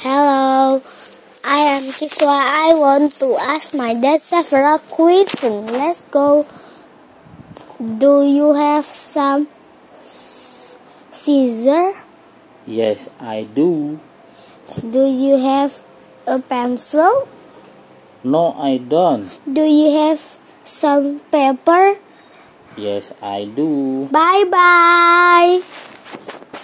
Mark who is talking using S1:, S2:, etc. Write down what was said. S1: Hello, I am Kiswa. I want to ask my dad several questions. Let's go. Do you have some scissors?
S2: Yes, I do.
S1: Do you have a pencil?
S2: No, I don't.
S1: Do you have some paper?
S2: Yes, I do.
S1: Bye bye.